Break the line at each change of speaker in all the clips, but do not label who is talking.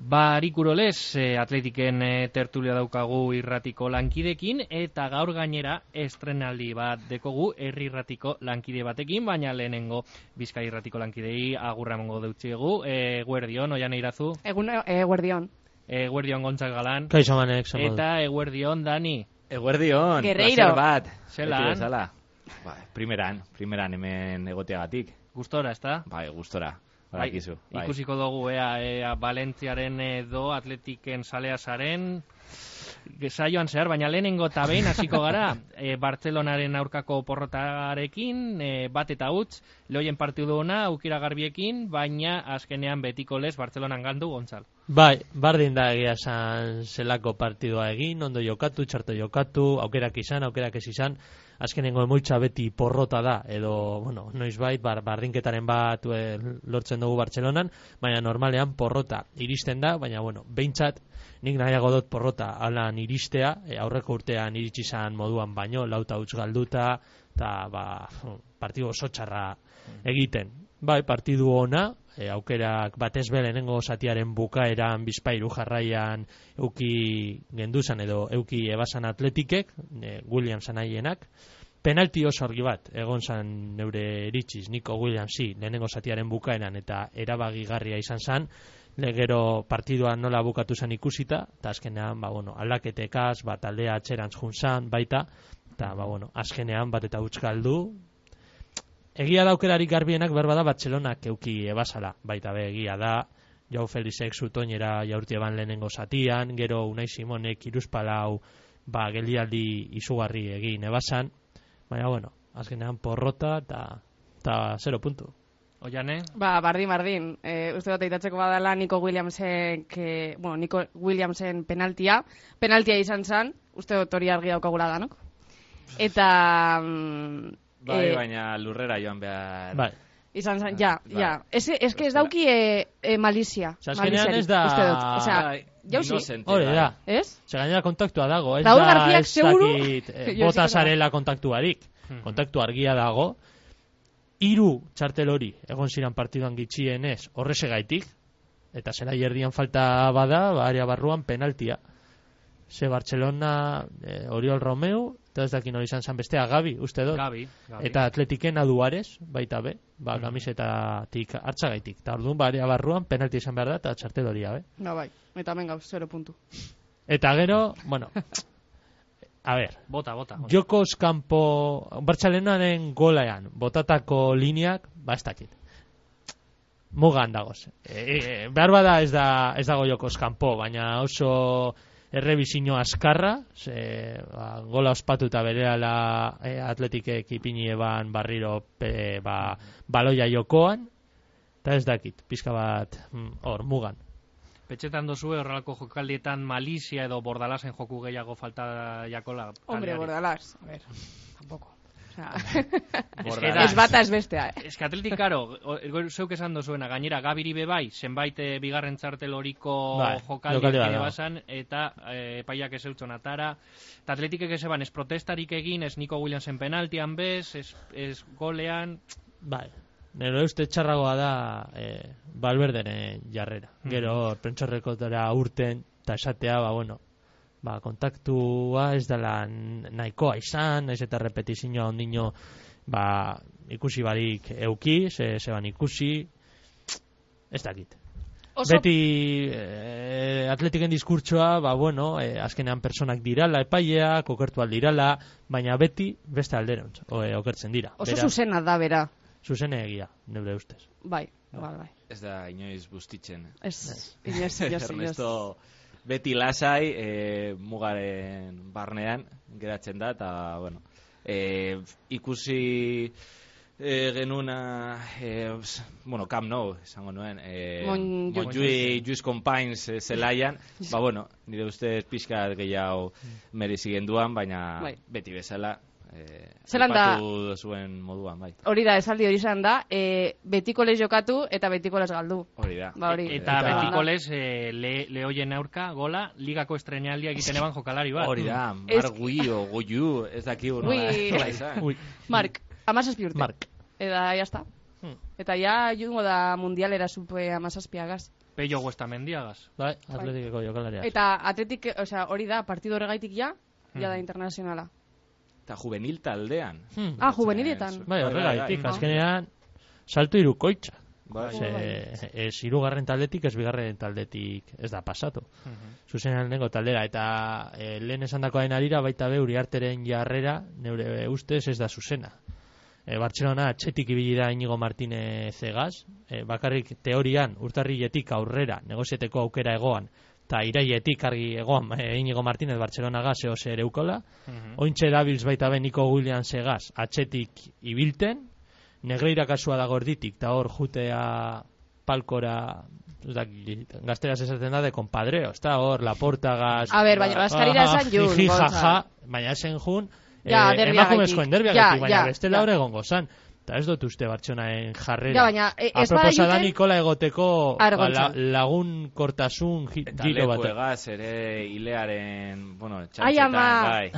Ba, Barikuroles e, atletiken e, tertulia daukagu irratiko lankidekin eta gaur gainera estrenaldi bat dekogu herri irratiko lankide batekin, baina lehenengo bizkai irratiko lankidei agurra emango deutziegu. E, guerdion, oian eirazu.
Egun, e, guardion.
E, guerdion Gontzak Galan.
Kaixo manek,
Eta e, guerdion Dani.
Eguerdi hon,
Guerreiro.
placer bat.
Zelan?
Beti bezala. Ba, primeran, primeran hemen egoteagatik.
Gustora, ezta?
Bai, gustora. Badakizu. Bai.
Ikusiko dugu, ea, ea Valentziaren edo atletiken salea zaren, saioan zehar, baina lehenengo eta behin hasiko gara, e, Bartzelonaren aurkako porrotarekin, e, bat eta huts, loien partidu ona, aukira garbiekin, baina azkenean betiko lez Bartzelonan gandu, Gontzal.
Bai, bardin da egia esan zelako partidua egin, ondo jokatu, txarto jokatu, aukerak izan, aukerak ez izan, azkenengo emoitza beti porrota da, edo, bueno, noizbait, bar, bardinketaren bat eh, lortzen dugu Bartzelonan, baina normalean porrota iristen da, baina, bueno, behintzat, nik nahiago dut porrota alan iristea, eh, aurreko urtean iritsi izan moduan baino, lauta huts galduta, eta, ba, partidu oso txarra egiten. Bai, partidu ona, e, aukerak batez be lehenengo zatiaren bukaeran bizpairu jarraian euki genduzan edo euki ebasan atletikek, e, Williamson haienak, penalti oso argi bat, egon zan neure iritziz, Nico Williamsi lehenengo zatiaren bukaeran eta erabagigarria izan zan, le- gero partidua nola bukatu zen ikusita, eta azkenean, ba, bueno, alaketekaz, bat aldea atxerantz juntzan, baita, eta, ba, bueno, azkenean bat eta huts galdu, Egia da aukerarik garbienak berbada Bartzelonak euki ebasala, baita be egia da, Jau Felixek zutoinera jaurti eban lehenengo zatian, gero Unai Simonek iruzpalau, ba, geldialdi izugarri egin ebasan, baina bueno, azkenean porrota eta eta zero puntu.
Oiane?
Ba, bardin, bardin. E, uste dut eitatzeko badala Nico Williamsen, que, bueno, Nico Williamsen penaltia. Penaltia izan zen, uste dut hori argi daukagula danok. Eta... mm,
Bai,
eh,
baina lurrera joan behar.
Bai.
Izan zen, ja,
Bai.
ja. Ez, ez que ez dauki e, e, malizia.
Ze azkenean
maliziarik,
ez da-
Uste dut, osea,
Bai,
jauzi.
inocente,
Hori
bai.
da.
Ez?
Ze gainera kontaktua dago, ez
Raúl
da
Garcíak
ez
seguru-
dakit eh,
Jo, ez
bota
dakit.
zarela kontaktuarik. Kontaktu argia dago. Hiru txartel hori egon ziren partiduan gitxienez horrezegaitik eta zela erdian falta bada, ba, area barruan penaltia. Ze Barcelona, eh, Oriol Romeu, eta ez dakin hori izan zen bestea Gabi, uste dut.
Gabi, Gabi.
Eta atletiken aduarez, baita be, ba, kamisetatik hartzagaitik. Eta orduan, ba, area barruan penalti izan behar da, eta txartel horia, be.
Ba, bai. Eta menga, zero puntu.
Eta gero, bueno, a ver,
Bota, bota. bota.
Jokoz kanpo Bartzalenaren golean botatako lineak, ba ez dakit. Mugan dagoz. E, e, behar bada ez, da, ez dago jokoz kanpo, baina oso errebizino azkarra, ze, ba, gola ospatuta berehala e, atletikek ipini eban barriro pe, ba, baloia jokoan, eta ez dakit, pizka bat mm, hor, mugan.
Petxetan dozue horrelako jokaldietan malizia edo bordalasen joku gehiago falta jakola.
Hombre,
taldeari.
bordalaz. A ver, tampoco. Osea,
Ez
Bordalás.
da-
ez bata ez bestea, eh?
Ez que atletik, karo, o- o- zeuk esan dozuena, gainera, gabiri bebai, zenbait eh, bigarren txartel horiko
Bai,
jokaldiak
jokaldi bat
ere
dago.
bazan, eta eh, epaiak ez eutzon atara. Eta atletikek ez eban, ez protestarik egin, ez Nico Williamsen penaltian bez, ez, ez golean...
Bai, nero uste txarragoa da e, balberderen jarrera. Gero hor, prentxorrekotara urten, eta esatea, ba, bueno, ba, kontaktua ez dela n- nahikoa izan, naiz eta repetizioa ondino, ba, ikusi barik euki, ze, zeban ikusi, ez dakit.
Oso-
Beti e, atletiken diskurtsoa, ba, bueno, e, azkenean personak dirala, epaileak, okertu aldirala, baina beti beste alderantz, o, e, okertzen dira.
Oso
Beraz-
zuzena da, bera.
Zuzen egia, neure ustez.
Bai, bai, bai.
Ez da inoiz bustitzen.
Ez, inoiz, inoiz, inoiz.
Ernesto beti lasai eh, mugaren barnean geratzen da eta bueno, eh, ikusi eh, genuna eh, ps- bueno, Camp Nou esango nuen eh,
Mon-
Monjuïc, Lluís Companys eh, zelaian ba bueno, nire ustez pixka gehiago merezi genduan, baina
Bai.
beti bezala eh,
Zelan da-
aipatu duzuen moduan, bai
Hori da, esaldi hori izan da, e, betiko lez jokatu eta betiko lez galdu.
hori da
Ba, hori.
Eta
Eta-
betiko lez, eh, le, lehoien aurka, gola, ligako estrenaldia egiten eban jokalari bat.
Hori da,
Ez-
marguio, goiu, ez dakigu
Ui.
nola, nola izan.
Ui,
Mark, amazazpi urte.
Mark.
Eta, jazta.
Hmm.
Eta ja, jungo da mundialera zupe amazazpiagaz.
Peio Guestamendiagaz.
Bai, atletikeko jokalaria.
Eta atletik, osea, hori da, partido horregaitik ja, ja da internazionala.
Eta juvenil taldean.
Hmm.
Ah, juveniletan.
Bai, horregaitik,
bai.
azkenean salto irukoitza.
Bai,
Ez, eh, ez irugarren taldetik, ez bigarren taldetik ez da pasatu. Zuzenean lehenko taldera, eta eh, lehen esandakoaren arira baita be uriarteren jarrera, neure ustez ez da zuzena. E, Bartzelona atxetik ibili da Inigo Martinez egaz, e, bakarrik teorian urtarriletik aurrera negozieteko aukera egoan, eta irailetik argi egoan e, Inigo Martinez Bartzelona gaz eoz ere eukola, Ointxe dabiltz baita be Nico Williams egaz atxetik ibilten, negreira kasua dago erditik, eta hor jutea palkora, ez dakit, gazteraz esaten da, de compadreo, ez da hor, laportagaz...
A ber, baina Baskarira esan jun,
Ah, jiji,
Gonzalo.
jaja, baina esan jun,
Ja,
eh,
derbiagatik.
emakumezkoen derbiagatik,
Ja,
baina
ja,
bestela
ja.
hor egongo zan. Eta ez dut uste Bartxonaen jarrera.
Ja, baina, e- ez bada
Aproposa da
juten-
Nikola egoteko ba,
Argon
la,
zan.
lagun kortasun gi-
Eta
giro bat.
lekuegaz ere hilearen, bueno,
Ai,
txantxetan,
ama.
bai.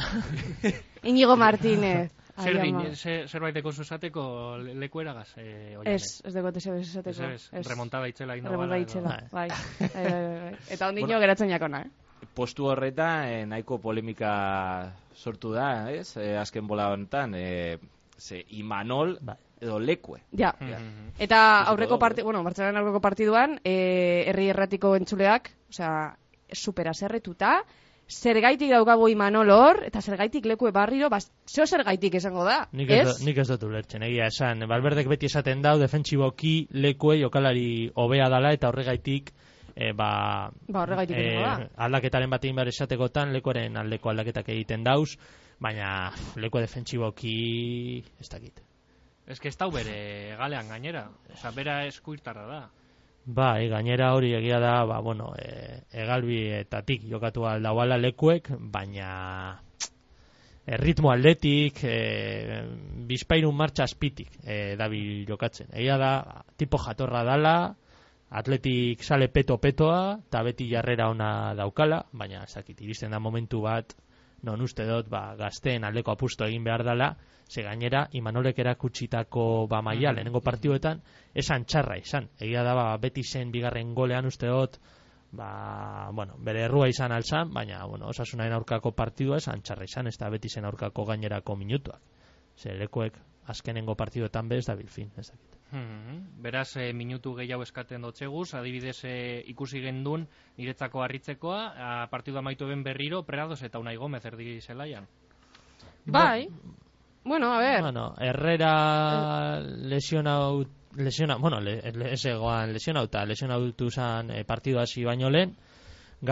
Inigo Martínez. Ai,
Zer
ama.
din, ze- zerbaiteko zuzateko lekueragaz, eh, oianek?
Ez, ez dugu teseo
Ez,
esateko.
ez, remontada itzela inda
Remontada
bala edo-
itxela,
edo-
bai. Bai, bai, bai, bai. Eta ondino
Bueno.
geratzen jakona, eh?
Postu horretan eh, nahiko polemika sortu da, ez? Eh, azken bola honetan, eh, ze Imanol
Bai.
edo Lekue.
Ja.
Mhm.
Eta
Ikusiko
aurreko
dugu.
parte, bueno, Bartzelonaren aurreko partiduan, eh, herri erratiko entzuleak, osea, supera zerretuta, zergaitik daukagu Imanol hor, eta zergaitik leku barriro, bas, zeo zergaitik esango da,
Nik ez,
ez?
dut- nik ez dut ulertzen, egia esan. Balberdek beti esaten dau, defentsiboki lekuei jokalari hobea dala eta horregaitik eh, ba,
Ba, horregaitik egingo da.
aldaketaren bat egin behar esatekotan lekuaren aldeko aldaketak egiten dauz, baina pff, leku defentsiboki ez dakit.
Ez que ez dau bere galean gainera. Osa, bera eskuirtarra da.
Bai, gainera hori egia da, ba, bueno, e, egalbi eta tik jokatu aldauala lekuek, baina tsk, erritmo aldetik, e, bizpairun martxa azpitik e, dabil jokatzen. Egia da, tipo jatorra dala, atletik sale peto-petoa, eta beti jarrera ona daukala, baina ez dakit, iristen da momentu bat, non uste dut, ba, gazteen aldeko apusto egin behar dala, ze gainera, Imanolek erakutsitako ba maia, lehenengo partiduetan, esan txarra izan. Egia da, ba, beti zen bigarren golean uste dut, ba, bueno, bere errua izan alzan, baina, bueno, osasunaren aurkako partidua esan txarra izan, ez da beti zen aurkako gainerako minutuak. Ze lekoek, azkenengo partiduetan bez da bilfin, ez dakit.
Mhm. Beraz, eh, minutu gehiago eskaten dotzeguz, adibidez eh, ikusi gendun niretzako harritzekoa, a, partidu amaitu ben berriro, Prerados eta Unai Gomez erdi zelaian.
Bai. Bueno, a ver,
Bueno, Herrera lesionau lesiona, bueno, le, le, ez egoan lesionauta, lesionautu zan eh, partidu hasi baino lehen,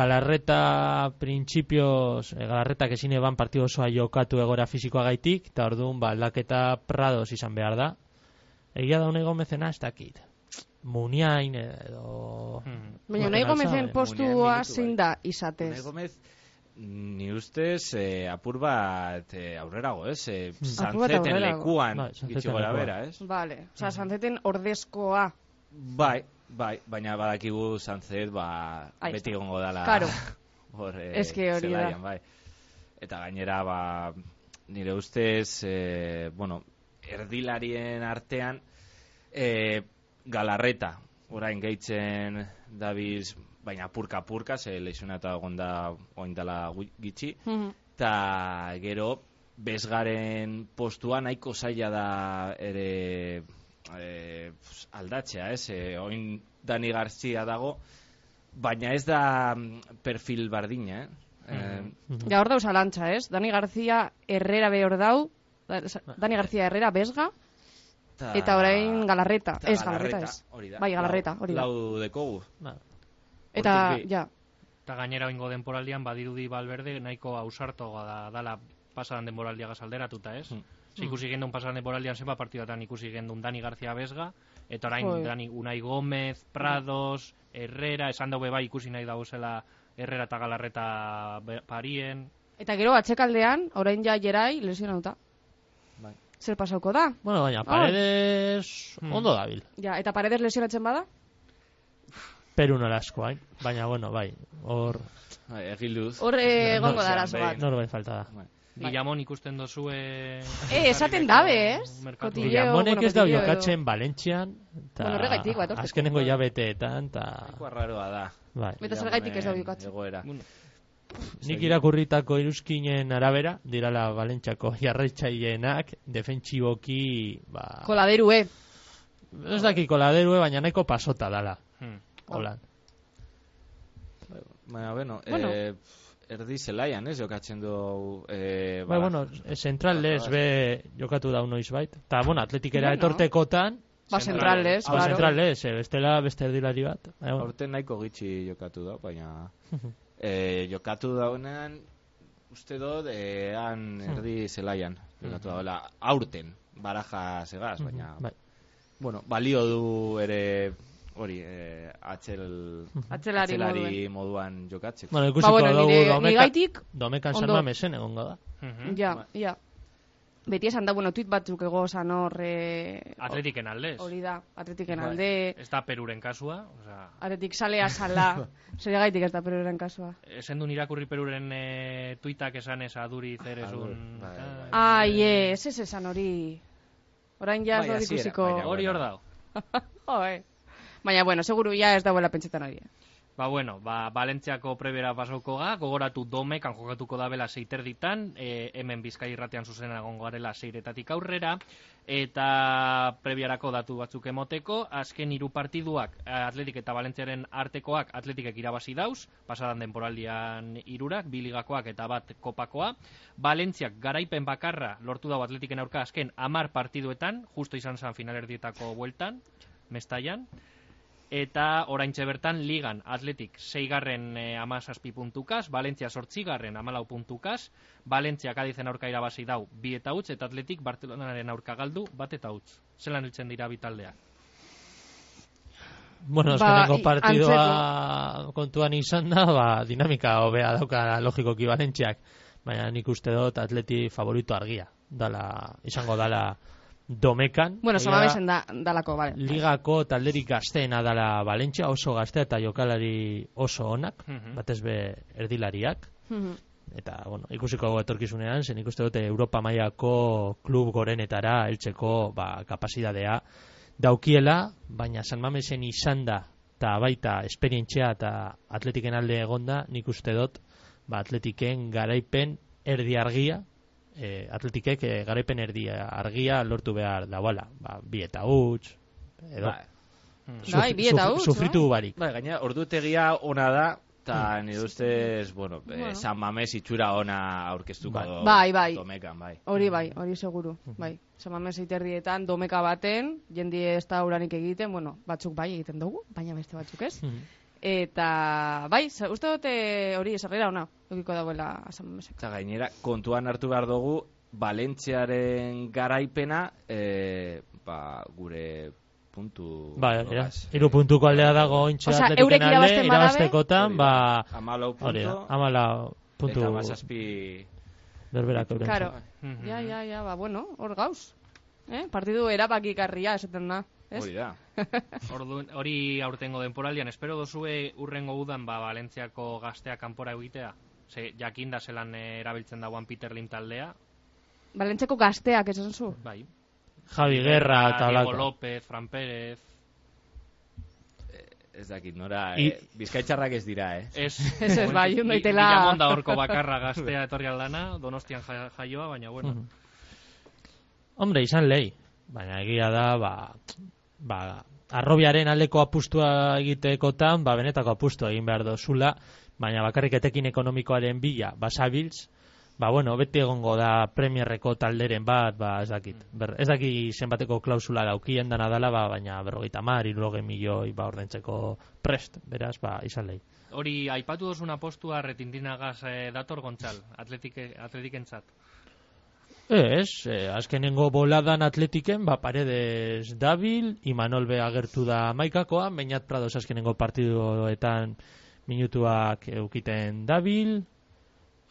Galarreta principios, eh, Galarretak ezin eban partidu osoa jokatu egora fisikoagaitik, eta orduan ba, aldaketa Prados izan behar da. Egia da unego mezena ez dakit. Muniain edo...
Mhm.
baina
Bueno,
eh, nahi gomezen
Gonzalo,
postua
Munean minutu,
zein
bai.
da izatez.
Unai Gomez, ni ustez eh, apur bat eh, aurrerago, ez? Eh,
Apur bat
Sanzeten
aurrerago.
lekuan,
Bai, Sanzeten
gitxi gora
lekuan.
bera, ez?
Vale, osea, santzeten ordezkoa.
Bai, bai, baina badakigu Sanzet, ba,
Ahí
beti
está.
gongo dala.
Claro.
Hor, eh,
Eske hori da.
zelaian, bai. Eta gainera, ba, nire ustez, eh, bueno, erdilarien artean, eh, galarreta, orain gehitzen dabiz, baina purka-purka, ze lesionata egon da oindala gitxi,
Mhm.
eta gero bezgaren postua nahiko zaila da ere e, aldatzea, ez? E, oin Dani Garzia dago, baina ez da mm, perfil bardina, eh?
Mm.
Eh,
Ja, hor dauz alantza, ez? Dani García Herrera be hor dau, da- Dani García Herrera Besga,
ta-
eta orain Galarreta.
ta
Ez, Galarreta ez.
Hori da.
Bai, Galarreta, hori da.
Lau dekogu.
Ba,
Eta,
hortik bi.
ja,
Eta gainera oingo denporaldian badirudi balberde nahiko ausartoa da, dala pasadan denboraldia gazalderatuta, ez?
Mm.
Ze ikusi gendun pasadan denboraldian zenba partidatan ikusi gendun Dani García Besga, eta orain
Joder.
Dani Unai Gómez, Prados, Herrera, esan daube bai ikusi nahi dauzela Herrera eta Galarreta be- parien,
Eta gero atxekaldean, orain ja jerai lesionauta.
Bai.
Zer pasauko da?
Bueno, baina paredes ondo dabil.
Ja, eta paredes lesionatzen bada?
Perun olasko, hain. Baina, bueno, bai, hor
Bai, Egilduz.
Hor eh, egongo
no,
da
zean,
arazo
bai.
bat.
norbait falta da.
Bai.
Bai.
Guillamon ikusten dozu... Eh,
Eh, esaten dabe, ez?
merkatu.
Kotilleo,
Guillamonek
bueno,
ez da
kotilleo edo-
jokatzen Valentzian, eta
Bueno, horregatik bat, hortik.
azkenengo jabeteetan, eta...
Nahikoa raroa da.
Bai.
Eta zergatik ez da
Guillamonen
jokatzen?
Egoera.
Bueno,
Nik irakurritako iruzkinen arabera, dirala Valentziako jarraitzaileenak, defentsiboki, ba...
Ah.
Koladeru, eh?
Ez daki koladerue, baina nahiko pasota dala.
hmm.
Holan.
Baina, bueno,
Bueno.
eh, erdi zelaian, ez, jokatzen du... Eh,
Bai,
bala.
bueno, zentral lez be jokatu da noiz bait. Ta, bueno, atletikera
Bueno.
etortekotan,
Ba,
Central.
centrales,
Ah,
hau
claro.
zentral lez, eh, bestela beste erdilari bat. Baina, bueno,
Aurten nahiko gitxi jokatu da, baina... eh, jokatu daunean, uste dut, eh, han erdi zelaian jokatu daola. Aurten, baraja zegaz, baina...
bai.
Bueno, balio du ere hori, eh, atxel,
Atzelari
moduan jokatzeko.
Bueno,
Ba,
ikusiko
bueno,
dugu
nire,
domeka,
nigaitik,
domekan
ondo.
San Mamesen egongo da.
Hmm?
Mhm.
ja,
Bai.
ja. Beti esan da, bueno, tuit batzuk ego esan hor, eh,
Ah,
Atletiken aldez.
hori da, atletiken
Bai.
alde,
Ez da Peruren kasua, osea,
atletik salea sala, zer gaitik ez da peruren kasua.
Ezen duen Eh, irakurri peruren e, tuitak esan ez aduri zer esun.
bai, bai.
Ai, eh, ez ez esan hori. Orain ja ez
Bai,
dut
hasiera,
ikusiko.
baina,
Hori hor dago.
Jo, eh. Baina, bueno, seguru ja ez dauela pentsetan hori. eh.
Ba, bueno, ba, Valentziako prebera pasoko ga, gogoratu domekan jokatuko da bela seiterditan, e, hemen bizkai irratean zuzen egongo garela seiretatik aurrera, eta prebiarako datu batzuk emoteko, azken hiru partiduak e, Atletik eta Valentziaren artekoak Atletikek irabazi dauz, pasadan denporaldian hirurak, biligakoak eta bat kopakoa, Valentziak garaipen bakarra lortu dago Atletiken aurka azken amar partiduetan, justo izan zan finalerdietako bueltan, Mestaian, eta oraintxe bertan ligan Atletik 6garren eh, amazazpi puntukaz, Valentzia sortzigarren amalau puntukaz, Valentzia Kadizen aurka irabazi dau bi eta huts, eta Atletik Bartelonaren aurka galdu bat eta huts. Zelan hiltzen dira bitaldeak.
Ba,
Bueno, azkenengo
i-
partidua kontuan izan da, ba, dinamika hobea dauka logikoki Valentziak, baina nik uste dut atleti favorito argia, dala, izango dala domekan.
Bueno,
Egia
sama besen da, dalako, vale.
Ligako talderik gazteena dala Valentzia, oso gaztea eta jokalari oso onak,
Mhm.
batez be erdilariak.
Mhm.
Mm-hmm.
Eta, bueno, ikusiko dugu etorkizunean, zen ikuste dute Europa mailako klub gorenetara heltzeko ba, kapasidadea daukiela, baina San Mamesen izan da, eta baita esperientzia eta atletiken alde egonda, nik uste dut, ba, atletiken garaipen erdi argia, e, atletikek e, garaipen erdi argia lortu behar dauala, ba, bi eta huts, edo,
Bai.
Bai, Ba, bi eta huts,
sufritu barik. Ba,
Bai, gaina ordutegia ona da, eta nire ustez, bueno, eh, San Mames itxura ona aurkeztuko
Bai.
do.
Bai, bai.
Domekan, bai.
Hori bai, hori seguru,
Mhm.
bai. Samamen zeiterdietan, domeka baten, jendie ez da uranik egiten, bueno, batzuk bai egiten dugu, baina beste batzuk ez.
Mhm.
Eta, bai, ze- uste dute hori esarrera ona, logiko dagoela Samamesek.
Eta gainera, kontuan hartu behar dugu, Valentziaren garaipena, eh, ba, gure puntu...
Ba, era,
nolaz,
hiru
eh,
puntuko aldea dago ointxe
Osea,
atletiken
eurek
alde,
irabazten badabe-
irabaztekotan, ba,
Hamalau
hori da,
puntu,
amala puntu
eta mazazpi...
berberak euren.
Claro,
Mhm.
ja, ja, ja, ba, bueno, hor gauz. Eh? Partidu erabakikarria esaten da, ez?
Hori da.
Ordu, hori aurtengo denporaldian, espero dozue urrengo udan ba, Valentziako gaztea kanpora egitea. Ze, jakinda zelan eh, erabiltzen da Juan Peter Lim taldea,
Balentzeko gazteak esan zu.
bai.
Javi Guerra eta
Diego
holako.
López, Fran Pérez,
Ez dakit nora,
I-
eh, bizkaitxarrak ez dira, eh?
Ez,
Ez, ez, bai,
Gu-
daitela-
Guillamon da horko bakarra gaztea etorri aldana, donostian ja- jaioa, baina bueno.
Mhm. Hombre, izan lehi, baina egia da, ba, ba, arrobiaren aldeko apustua egitekotan, ba, benetako apustua egin behar dozula, baina bakarrik etekin ekonomikoaren bila, basabiltz, ba, bueno, beti egongo da premierreko talderen bat, ba, ez dakit. Ber, ez daki zenbateko klausula daukien dana dala, ba, baina berrogeita mar, irurogei milioi, ba, ordentzeko prest, beraz, ba, izan lehi.
Hori aipatu dozun apostua retintinagas eh, dator gontzal, atletik, atletikentzat.
Ez, eh, azkenengo boladan atletiken, ba, paredes dabil, Imanol be agertu da maikakoan, Beñat Prados azkenengo partiduetan minutuak eukiten dabil,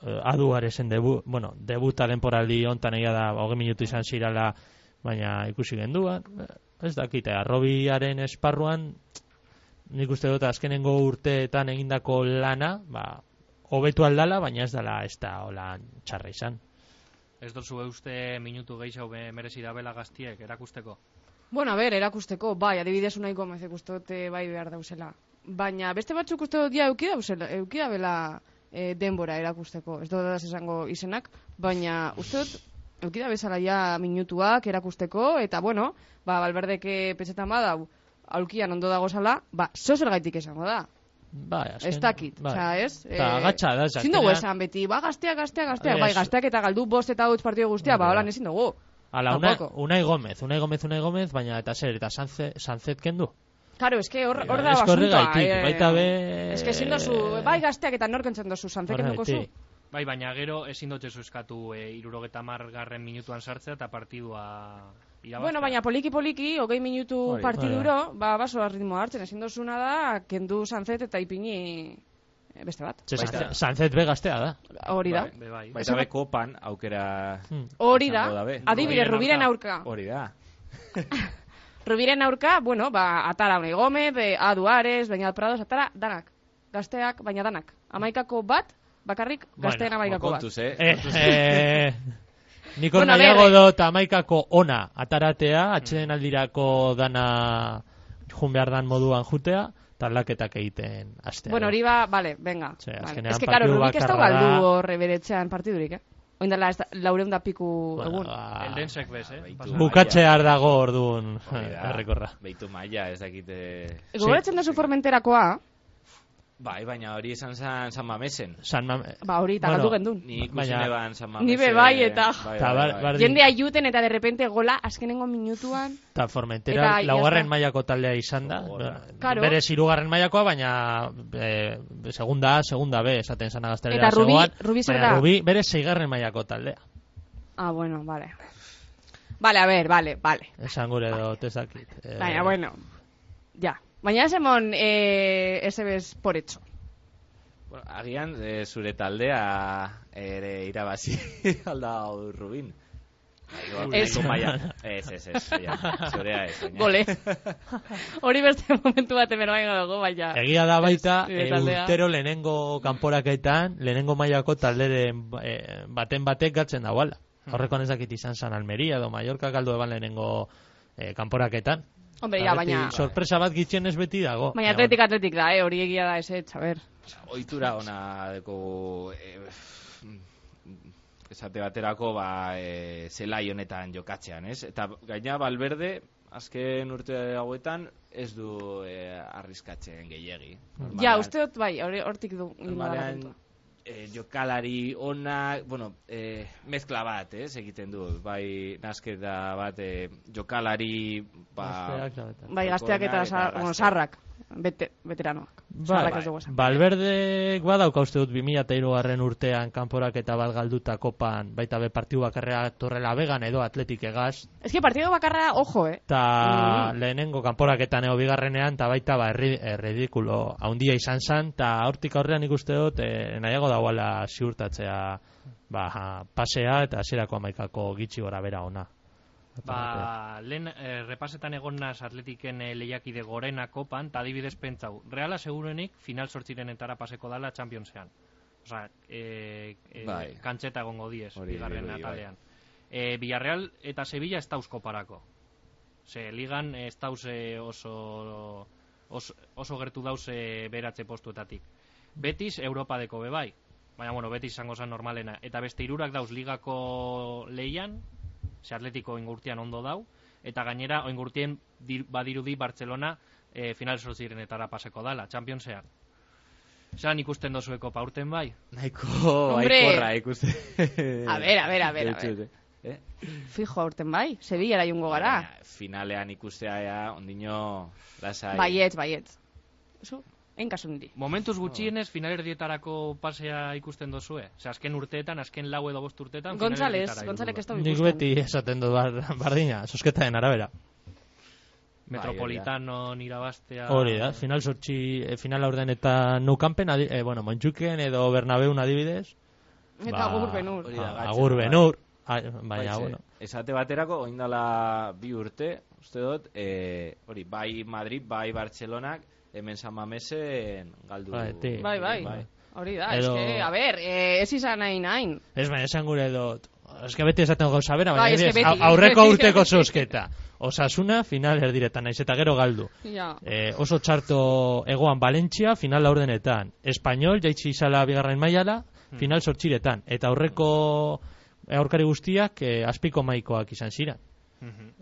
eh, adu aresen debu, bueno, debuta denporaldi hontan egia da, hoge minutu izan zirala, baina ikusi genduan, Eh, ez dakite, arrobiaren esparruan, nik uste dut azkenengo urteetan egindako lana, ba, hobetu aldala, baina ez dala ez da holan txarra izan.
Ez duzu uste minutu gehiago be- merezi dabela gaztiek erakusteko.
Bueno, a ber, erakusteko, bai, adibidez unai gomez ikustot bai behar dauzela. Baina beste batzuk uste dut ja euki dauzela, euki dabela eh, denbora erakusteko. Ez dut da esango izenak, baina uste dut euki da bezala ja minutuak erakusteko, eta bueno, ba, balberdeke petxetan badau, aulkian ondo dago zala, ba, zozer gaitik esango da.
Bai, azken-
Ez dakit,
bai.
osea, ez? eh,
Eta agatsa da, ez
ezin dugu
azkenean-
esan beti, ba, gazteak, gazteak, gazteak,
Ez. Bai,
bai, gazteak eta galdu bost eta hau partidu guztia, ba, holan ezin dugu.
Ala, una,
Tampoco.
Unai Gomez, Unai Gomez, Unai Gomez, baina eta zer, eta Sanze, Sanzet kendu.
Claro, eske hor hor da
Ez que
asuntoa.
horregaitik, baita be-
Eske ezin dozu, bai gazteak eta nork entzen dozu, santzek enduko zu.
Horregatik.
Bai, baina gero ezin dut ezu eskatu e, irurogeta margarren minutuan sartzea eta partidua irabaztea.
Bueno, baina poliki poliki, hogei minutu
Hori,
partiduro, ba, baso ritmoa hartzen, ezin dozuna da, kendu santzet eta ipini eh, beste bat.
Ze,
Baita-
Sanzet- Sanzet be gaztea da.
Hori da.
Be bai.
Baita be kopan aukera
Hmm.
Hori da,
Izango da be.
adibide,
Rubiren
Rubiren aurka.
hori da.
Rubiren aurka, bueno, ba, atara Unai Gomez, be, A. Duares, Beñat Prados, atara danak. Gazteak, baina danak. Amaikako bat, bakarrik
Bueno,
gazteen amaikako bat.
Kontuz, eh?
Eh, eh, nik hor
Bueno, a
nahiago
ver, eh.
dut amaikako ona ataratea, atxeden aldirako dana jun behar dan moduan jutea, talaketak egiten astea.
Bueno, hori ba, vale, venga.
Ze,
vale.
azkenean
Es que, claro,
partidu
Rubik ez dau
bakarra da.
galdu horre beretzean partidurik, eh? Oindala, ez da, laureun da piku
Bueno,
egun.
ba,
Eldensek bez, eh?
Baitu.
Pasa.
bukatzear dago orduan
Hori da.
Ah, errekorra.
Beitu maila, ez dakite...
Gogoratzen duzu formenterakoa,
Bai, baina hori esan zan San Mamesen.
San Mam-
ba hori, eta
Bueno,
galdu gendun.
Ni ikusi
Baina-
neban San Mamesen.
Ni be bai, eta-
Bai,
Ta ba-
bai,
bar-
bai.
bardin-
Jende aiuten eta de repente gola azkenengo minutuan.
Eta Formentera,
Eta ya
laugarren
está.
mailako taldea izan da.
Gogorra.
Claro.
Bere zirugarren mailakoa, baina eh, segunda A, segunda B, esaten zana gaztelera
Eta Rubi-
zegoan,
Rubi zer
baina
da?
Rubi bere seigarren mailako taldea.
Ah, bueno, vale. Vale, a ver, vale, vale.
Esan gure dut ezakit. Eh,
Baina, bueno, ja. Baina ez emon, eh, ez ebes por hecho.
Bueno, agian eh, zure taldea ere irabazi alda hau Rubin. Nahiko-
Ez.
nahiko maila- Ez, ez, ez. ja, Zurea ez. baina-
Gole. hori beste momentu bat emero baino dugu, baina.
Egia da baita,
Ez, nire
eh,
taldea.
urtero lehenengo kanporaketan, lehenengo mailako talderen eh, baten batek gatzen da guala.
Mm.
Horrekoan ezakit izan San Almeria edo Mallorca galdu eban lehenengo eh, kanporaketan.
Hombre,
Eta
ja,
beti
baina...
Sorpresa bat gitxenez beti dago.
Baina atletik atletik da, eh, hori egia da, ez, ez, a ber.
Oitura ona deko... Eh, esate baterako, ba, eh, zelai honetan jokatzean, ez? Eta gaina Balberde, azken urte hauetan, ez du eh, arriskatzen gehiegi.
Ja,
Normalean-
uste dut, bai, hori hortik du. ingo dala
Normalean
kontua.
eh, jokalari ona, bueno, eh, mezkla bat, ez, egiten du, bai nasketa bat eh, jokalari, ba,
Gazteak da eta-
Bai, gazteak eta,
Eta
sar- bueno,
ba, gazte. Bai,
sarrak, bete, veteranoak. sarrak ez dugu esan.
Balberdek Bai, badauka uste dut 2003garren urtean kanporak eta bat galduta kopan, baita be partiu bakarrea torrela vegan edo atletik egaz,
Ez que partido bakarra, ojo, eh.
eta lehenengo kanporaketan eo bigarrenean, eta baita ba erri, erridikulo haundia izan zan, eta hortik aurrean ikuste dut e, nahiago dauala ziurtatzea ba, pasea eta hasierako amaikako gitxi gora bera ona.
Ba, lehen eh, repasetan egon naz atletiken eh, lehiakide gorena kopan, eta adibidez pentsau. Reala segurenik final sortzirenetara paseko dala Championsean. Osa, eh, eh,
Bai.
kantxeta egongo diez,
Hori
bigarren
dirudi, bai.
atalean. Eh, Villarreal eta Sevilla ez dauzko parako. Ze, ligan ez dauz eh, oso, oso, oso gertu dauz eh, beratze postuetatik. Betis Europadeko bebai. bai. Baina, bueno, Betis izango zan normalena. Eta beste hirurak dauz ligako leian, ze atletiko oingurtian ondo dau, eta gainera oingurtien dir, badirudi Barcelona e, final sortzirenetara paseko dala, Championsean. Zan ikusten dozueko paurten bai?
nahiko
Hombre.
aikorra ikuste.
A ver, a ver, a ver, a
Deitu
ver.
dute. Eh?
Fijo aurten bai, Sevilla jungo gara.
Baina, finalean ikustea ja, ondino lasai.
Baietz, baietz. Zu, enkasun di.
Ah.
Momentuz gutxienez finalerdietarako pasea ikusten dozue. Ze azken urteetan, azken lau edo bost urteetan
González,
finalerdietara
González
heldu
ez
da.
da
Nik
ikusten.
beti esaten dut bar, bardina, sosketaren arabera.
Bai,
Bai,
Metropolitano nirabaztea...
Hori da, final sortxi, eh, final aurden eta nou kanpen, adi, eh, bueno, Montjuken edo Bernabeun adibidez.
Eta agur benur.
Ba, hori da,
A-
gatzen,
Agur
bai.
benur, a- baina,
Bai, ze,
bueno.
Esate baterako, oindala bi urte, uste dut, eh, hori, bai Madrid, bai Bartzelonak, hemen San Mamesen galdu.
Bai, ti.
Bai, bai.
Bai.
Hori da,
Edo-
eske, a ber, eh, ez izan hain hain.
Ez baina esan gure dut, eske beti esaten gauza bera, baina
Bai, eske
adibidez,
beti.
au- aurreko urteko zozketa. Osasuna, final erdiretan, naiz eta gero galdu.
Ja.
Eh, oso txarto egoan Valentzia, final laurdenetan. Espainol, jaitsi izala bigarren maiala,
Hmm.
final sortxiretan. Eta aurreko aurkari guztiak eh, azpiko maikoak izan ziren.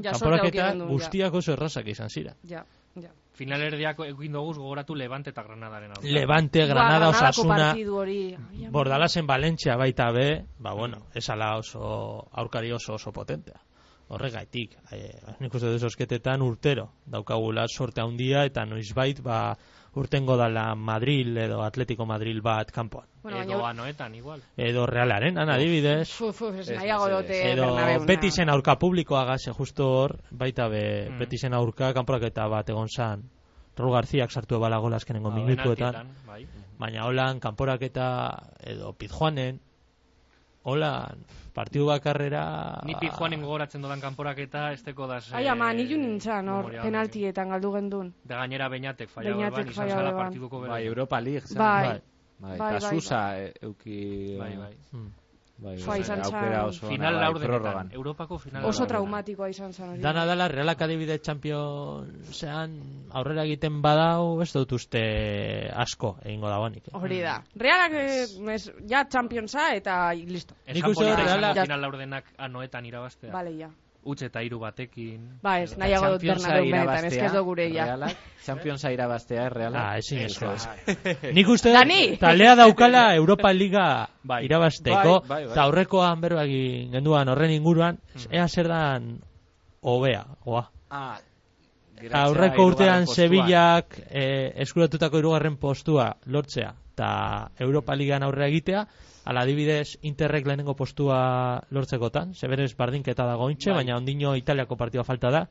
Ja, sortea
Kanporaketa
ukitzen du,
guztiak oso errazak izan ziren.
Ja, ja. ja.
Finalerdiako egin doguz gogoratu Levante eta Granadaren aurka.
Levante,
Ba,
Granada,
Granadako
Osasuna,
partidu hori. Ai, ama.
Bordalasen Valentzia baita be, ba bueno, esala oso aurkari oso oso potentea. Horregaitik, eh, nik uste dut osketetan urtero daukagula sorte handia eta noizbait ba urtengo dala Madrid edo Atletico Madrid bat kanpoan.
Bueno,
bai. Edo
baina...
anoetan, igual.
Edo Realaren, ana adibidez,
Fu, fu, ez
Ez,
nahiago
ez,
dote
edo
Bernabéuna.
Betisen aurka publikoa gase justo hor, baita be
Mm.
Betisen aurka kanporaketa bat egon san. Raúl Garziak sartu ebala gola azkenengo
Ba,
minutuetan.
penaltietan, Bai.
baina holan kanporaketa edo pizjoanen holan partidu bakarrera
Ni Pijuanen gogoratzen dodan kanporaketa esteko da...
Ai, ama, ni jun nintzen, hor,
memoria honekin.
penaltietan galdu gendun.
Da gainera beinatek faia
Beñatek
beban, izan
faila
zala
beban.
partiduko bera.
Bai, Europa League, zan.
Bai.
Bai,
Bai,
bai,
bai.
Susa e- euki...
bai, bai.
Mm.
bai,
Fua,
bai,
izan zen.
aukera oso ona,
Final
bai,
laurdenetan,
prorrogan.
Europako final
Oso
laurdenetan.
traumatikoa izan zen hori.
Dana dala realak adibide championsean aurrera egiten badau ez dut uste asko egingo dagoenik. eh.
Hori da. Realak, eh, mes, ja, championsa eta listo.
Esan
Nik uste
polita
dut
izango
Reala-
final laurdenak anoetan irabaztea.
Vale, ja.
Utz eta hiru batekin.
Ba, ez,
Edo-
nahiago dut
Championsa
Bernabeu benetan, ez
irabaztea,
que ez da gure ja.
Realak, Championsa irabaztea, Realak.
Ah, ezin ezkoa.
Eso
Nik uste dut
Dani!
taldea daukala Europa Liga
Bai.
irabasteko
Bai, Hmm. bai, bai.
eta aurrekoan berba egin genduan horren inguruan ea zer dan hobea, goa.
Ah, geratzea
Aurreko
hirugarren
urtean
postuan.
Sevillak eh, eskuratutako hirugarren postua lortzea eta Europa Ligan aurre egitea, ala adibidez Interrek lehenengo postua lortzekotan, Severes bardinketa dago intxe, baina ondino Italiako partida falta da.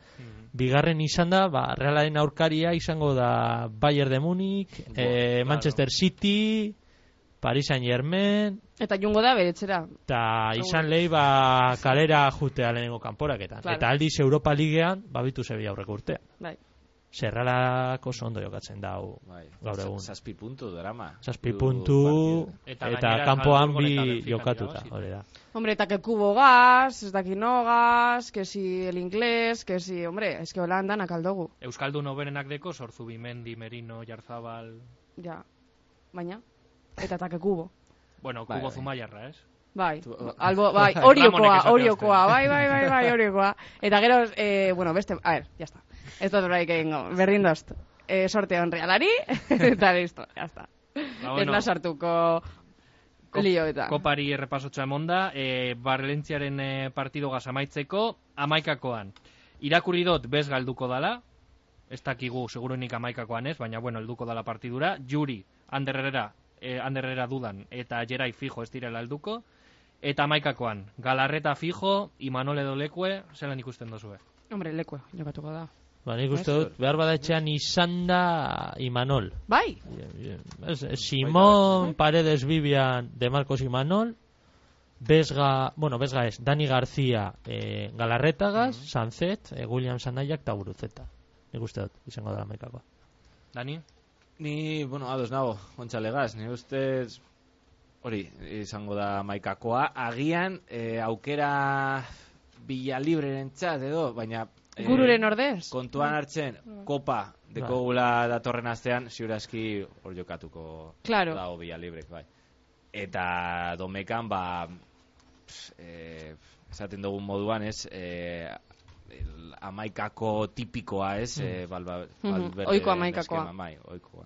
Bigarren izan da, ba, Realaren aurkaria izango da Bayern de Múnich, eh,
claro.
Manchester City, Paris Saint-Germain,
Eta jungo da beretzera.
Eta izan lehi ba kalera jutea lehenengo kanporaketan.
Claro.
Eta aldiz Europa Ligean, babitu Sevilla aurreko urtea.
Bai.
Zerralako ondo jokatzen dau
Bai.
gaur egun.
Zazpi puntu drama.
Zazpi puntu
Eta
eta,
gainera
kanpoan
Salzburgon eta
bi
Benfican
jokatuta,
irabazita.
hori da.
Hombre, eta que kubo gaz, ez daki no gaz, que si el inglés, que si, hombre, ez que holandan akaldogu.
Euskaldun oberenak deko, sortu bimendi, merino, jarzabal...
Ja. Baina, eta eta que kubo.
Bueno,
Bai,
kubo
bai.
zumaiarra, ez?
Bai,
Tu- o-
albo, bai,
Ramonek
oriokoa,
esatea
oriokoa, bai, bai, bai, bai, oriokoa. Eta gero, eh, bueno, beste, a ver, ya está. Ez dut oraik egingo, berrin dozt. Eh, sorte hon realari, eta listo, ya está.
Ba,
Ez da sartuko lio eta.
Kopari errepasotxa emonda, e, Barlentziaren e, partidogaz amaitzeko, amaikakoan. Irakurri dut bez galduko dala, ez dakigu seguruenik amaikakoan ez, baina bueno, helduko dala partidura. Juri, Anderrera, e, Anderrera dudan, eta Jerai Fijo ez direla helduko. Eta amaikakoan, Galarreta Fijo, Imanol edo Lekue, zelan ikusten dozue.
Hombre, lekue, jokatuko da.
Ba, nik uste dut, behar badatxean izan da Imanol.
Bai,
Ez, ez, Simon Paredes Bibian de Marcos Imanol, Besga, bueno, Besga ez, Dani García eh, Galarretagaz, Sanzet, eh, William Sanaiak eta Buruzeta. Nik uste dut, izango dela maikakoa.
Dani?
Ni, bueno, ados nago, ontsalegaz, ni ustez hori, izango da maikakoa, agian eh, aukera Villalibreren txat edo, baina eh,
gururen ordez.
kontuan hartzen kopa
Bai.
dekogula datorren astean ziurazki hor jokatuko
Claro.
dago Villalibrek, bai. Eta domekan, ba, pf, eh, esaten dugun moduan, ez, eh, el amaikako tipikoa, ez,
Mm.
eh, balba,
Mm-hmm.
Mhm,
balberderen
ohiko hamaikakoa.
eskema, bai, ohikoa.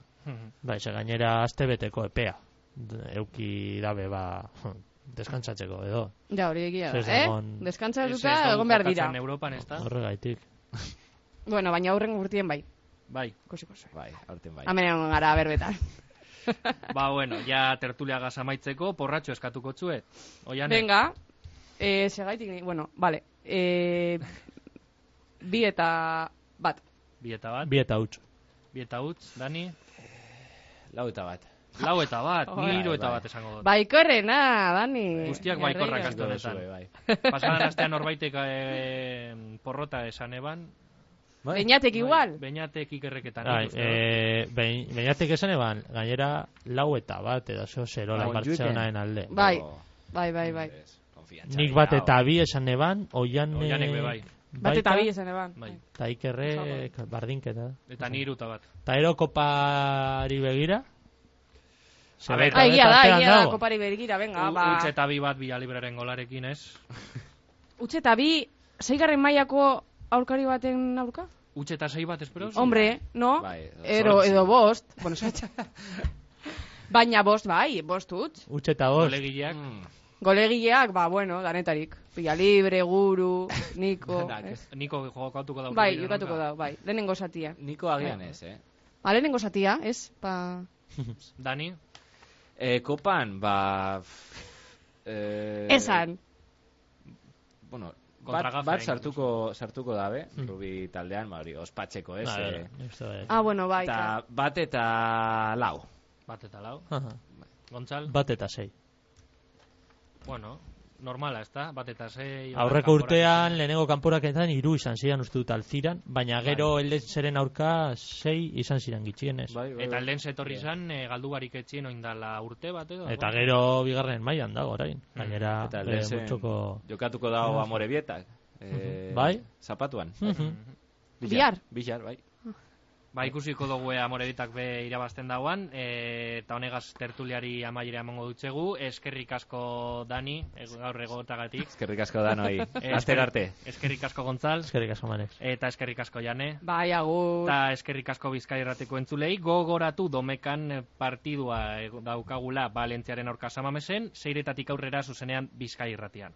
Ba, ze gainera astebeteko epea. D- Euki dabe ba, deskantzatzeko edo,
Ja, hori egia da,
Ez
eh?
egon-
Deskantza
Ez, ez
duta,
dugu
egon behar dira.
jokatzen Europan ez da?
horregaitik.
Bueno, baina aurren urtien bai.
Bai.
Kosi, kosi.
Bai, aurten bai.
Hemen egon gara berbetan.
Ba, bueno, ja tertuliagaz amaitzeko, porratxo eskatuko txue. Oian,
Venga, eh, segaitik, ni- bueno, vale. Eh, bi eta bat.
bi eta bat,
Bi eta huts.
bi eta utz, Dani?
Lau eta bat.
Lau eta bat,
Bai,
ni hiru eta
bai.
bat esango dut.
Baikorrena, Dani.
Guztiak
Garrido.
baikorrak aste
Bai,
honetan.
bai, bai.
Pasadan astean norbaitek eh, porrota esan eban.
Bai.
Beñatek
Bai.
igual.
Beñatek ikerreketan.
Bai,
nik uste dut.
eh, behin- beinatik esan eban, gainera lau eta bat edo zeo zero la
Bai.
Montjuïcen.
Bartzeonaen alde.
Bai,
Oh,
bai, bai, bai.
ez, con konfiantza.
Nik bat eta bi esan neban, oian... eh,
Oianek be bai.
Bat eta bi esan bai. eban.
Bai.
Eta ikerre, bardinketa.
Eta ni iruta bat.
Eta ero kopari begira?
A ber,
Ah, egia da,
tartean
egia da,
dago.
kopari bergira, venga,
U-
ba.
Huts eta bi bat Villalibreren golarekin, ez?
Utxe eta bi, zeigarren mailako aurkari baten aurka?
Huts eta sei bat, espero?
Hombre, no?
Bai,
Ero,
zortzi.
edo bost. Bueno, zortzi. Baina bost, bai, bost utz.
Utxe eta bost.
Golegileak.
Mm,
Golegileak, ba, bueno, danetarik. Pilla libre, guru, niko.
Danak,
eh?
ez.
Niko jokatuko da.
Bai,
aurretik,
jokatuko
erronka.
da, bai. Lehenengo satia.
Niko agian ez, eh?
Ba, lehenengo satia, ez? Ba...
Dani,
E, kopan, ba... f- E,
Esan.
Bueno, bat,
Kontragafea
bat
ingo
sartuko, sartuko dabe,
Hmm.
Rubi taldean, ba, hori, ospatzeko, ez?
Ba,
eh,
esto es.
Ah, bueno, bai.
eta bat eta lau.
bat eta lau.
Aha.
Gontzal,
Bat eta sei.
bueno, normala, ez da? Bat eta sei.
Aurreko
kanpora-
urtean, lehenengo kanporaketan hiru izan ziren uste dut alziran,
Bai.
baina gero eldetzeren aurka sei izan ziren gitxienez.
Bai, bai,
Eta
bai.
lehen zetorri izan, e, galdu barik etxien oindala urte bat edo.
Eta gero bigarren mailan dago orain. Gainera,
Eta
eh,
lehen
multzoko-
jokatuko dago amore bietak. Eh,
Bai.
Zapatuan.
Mhm.
Bihar.
Bihar, bai.
Ba, ikusiko dugu ea Morebitak be irabazten dauan, e, eta honegaz tertuliari amaiera emango dutxegu, eskerrik asko Dani, e, gaur egotagatik.
Eskerrik asko da noi.
E,
Aster arte.
Eskerrik asko Gontzal,
Eskerrik asko Manex.
eta eskerrik asko Jane.
Bai, agur.
Eta eskerrik asko Bizkaia Irratiko entzulei, gogoratu domekan eh, partidua eh, daukagula Valentziaren aurka samamesen, seiretatik aurrera zuzenean Bizkaia Irratian.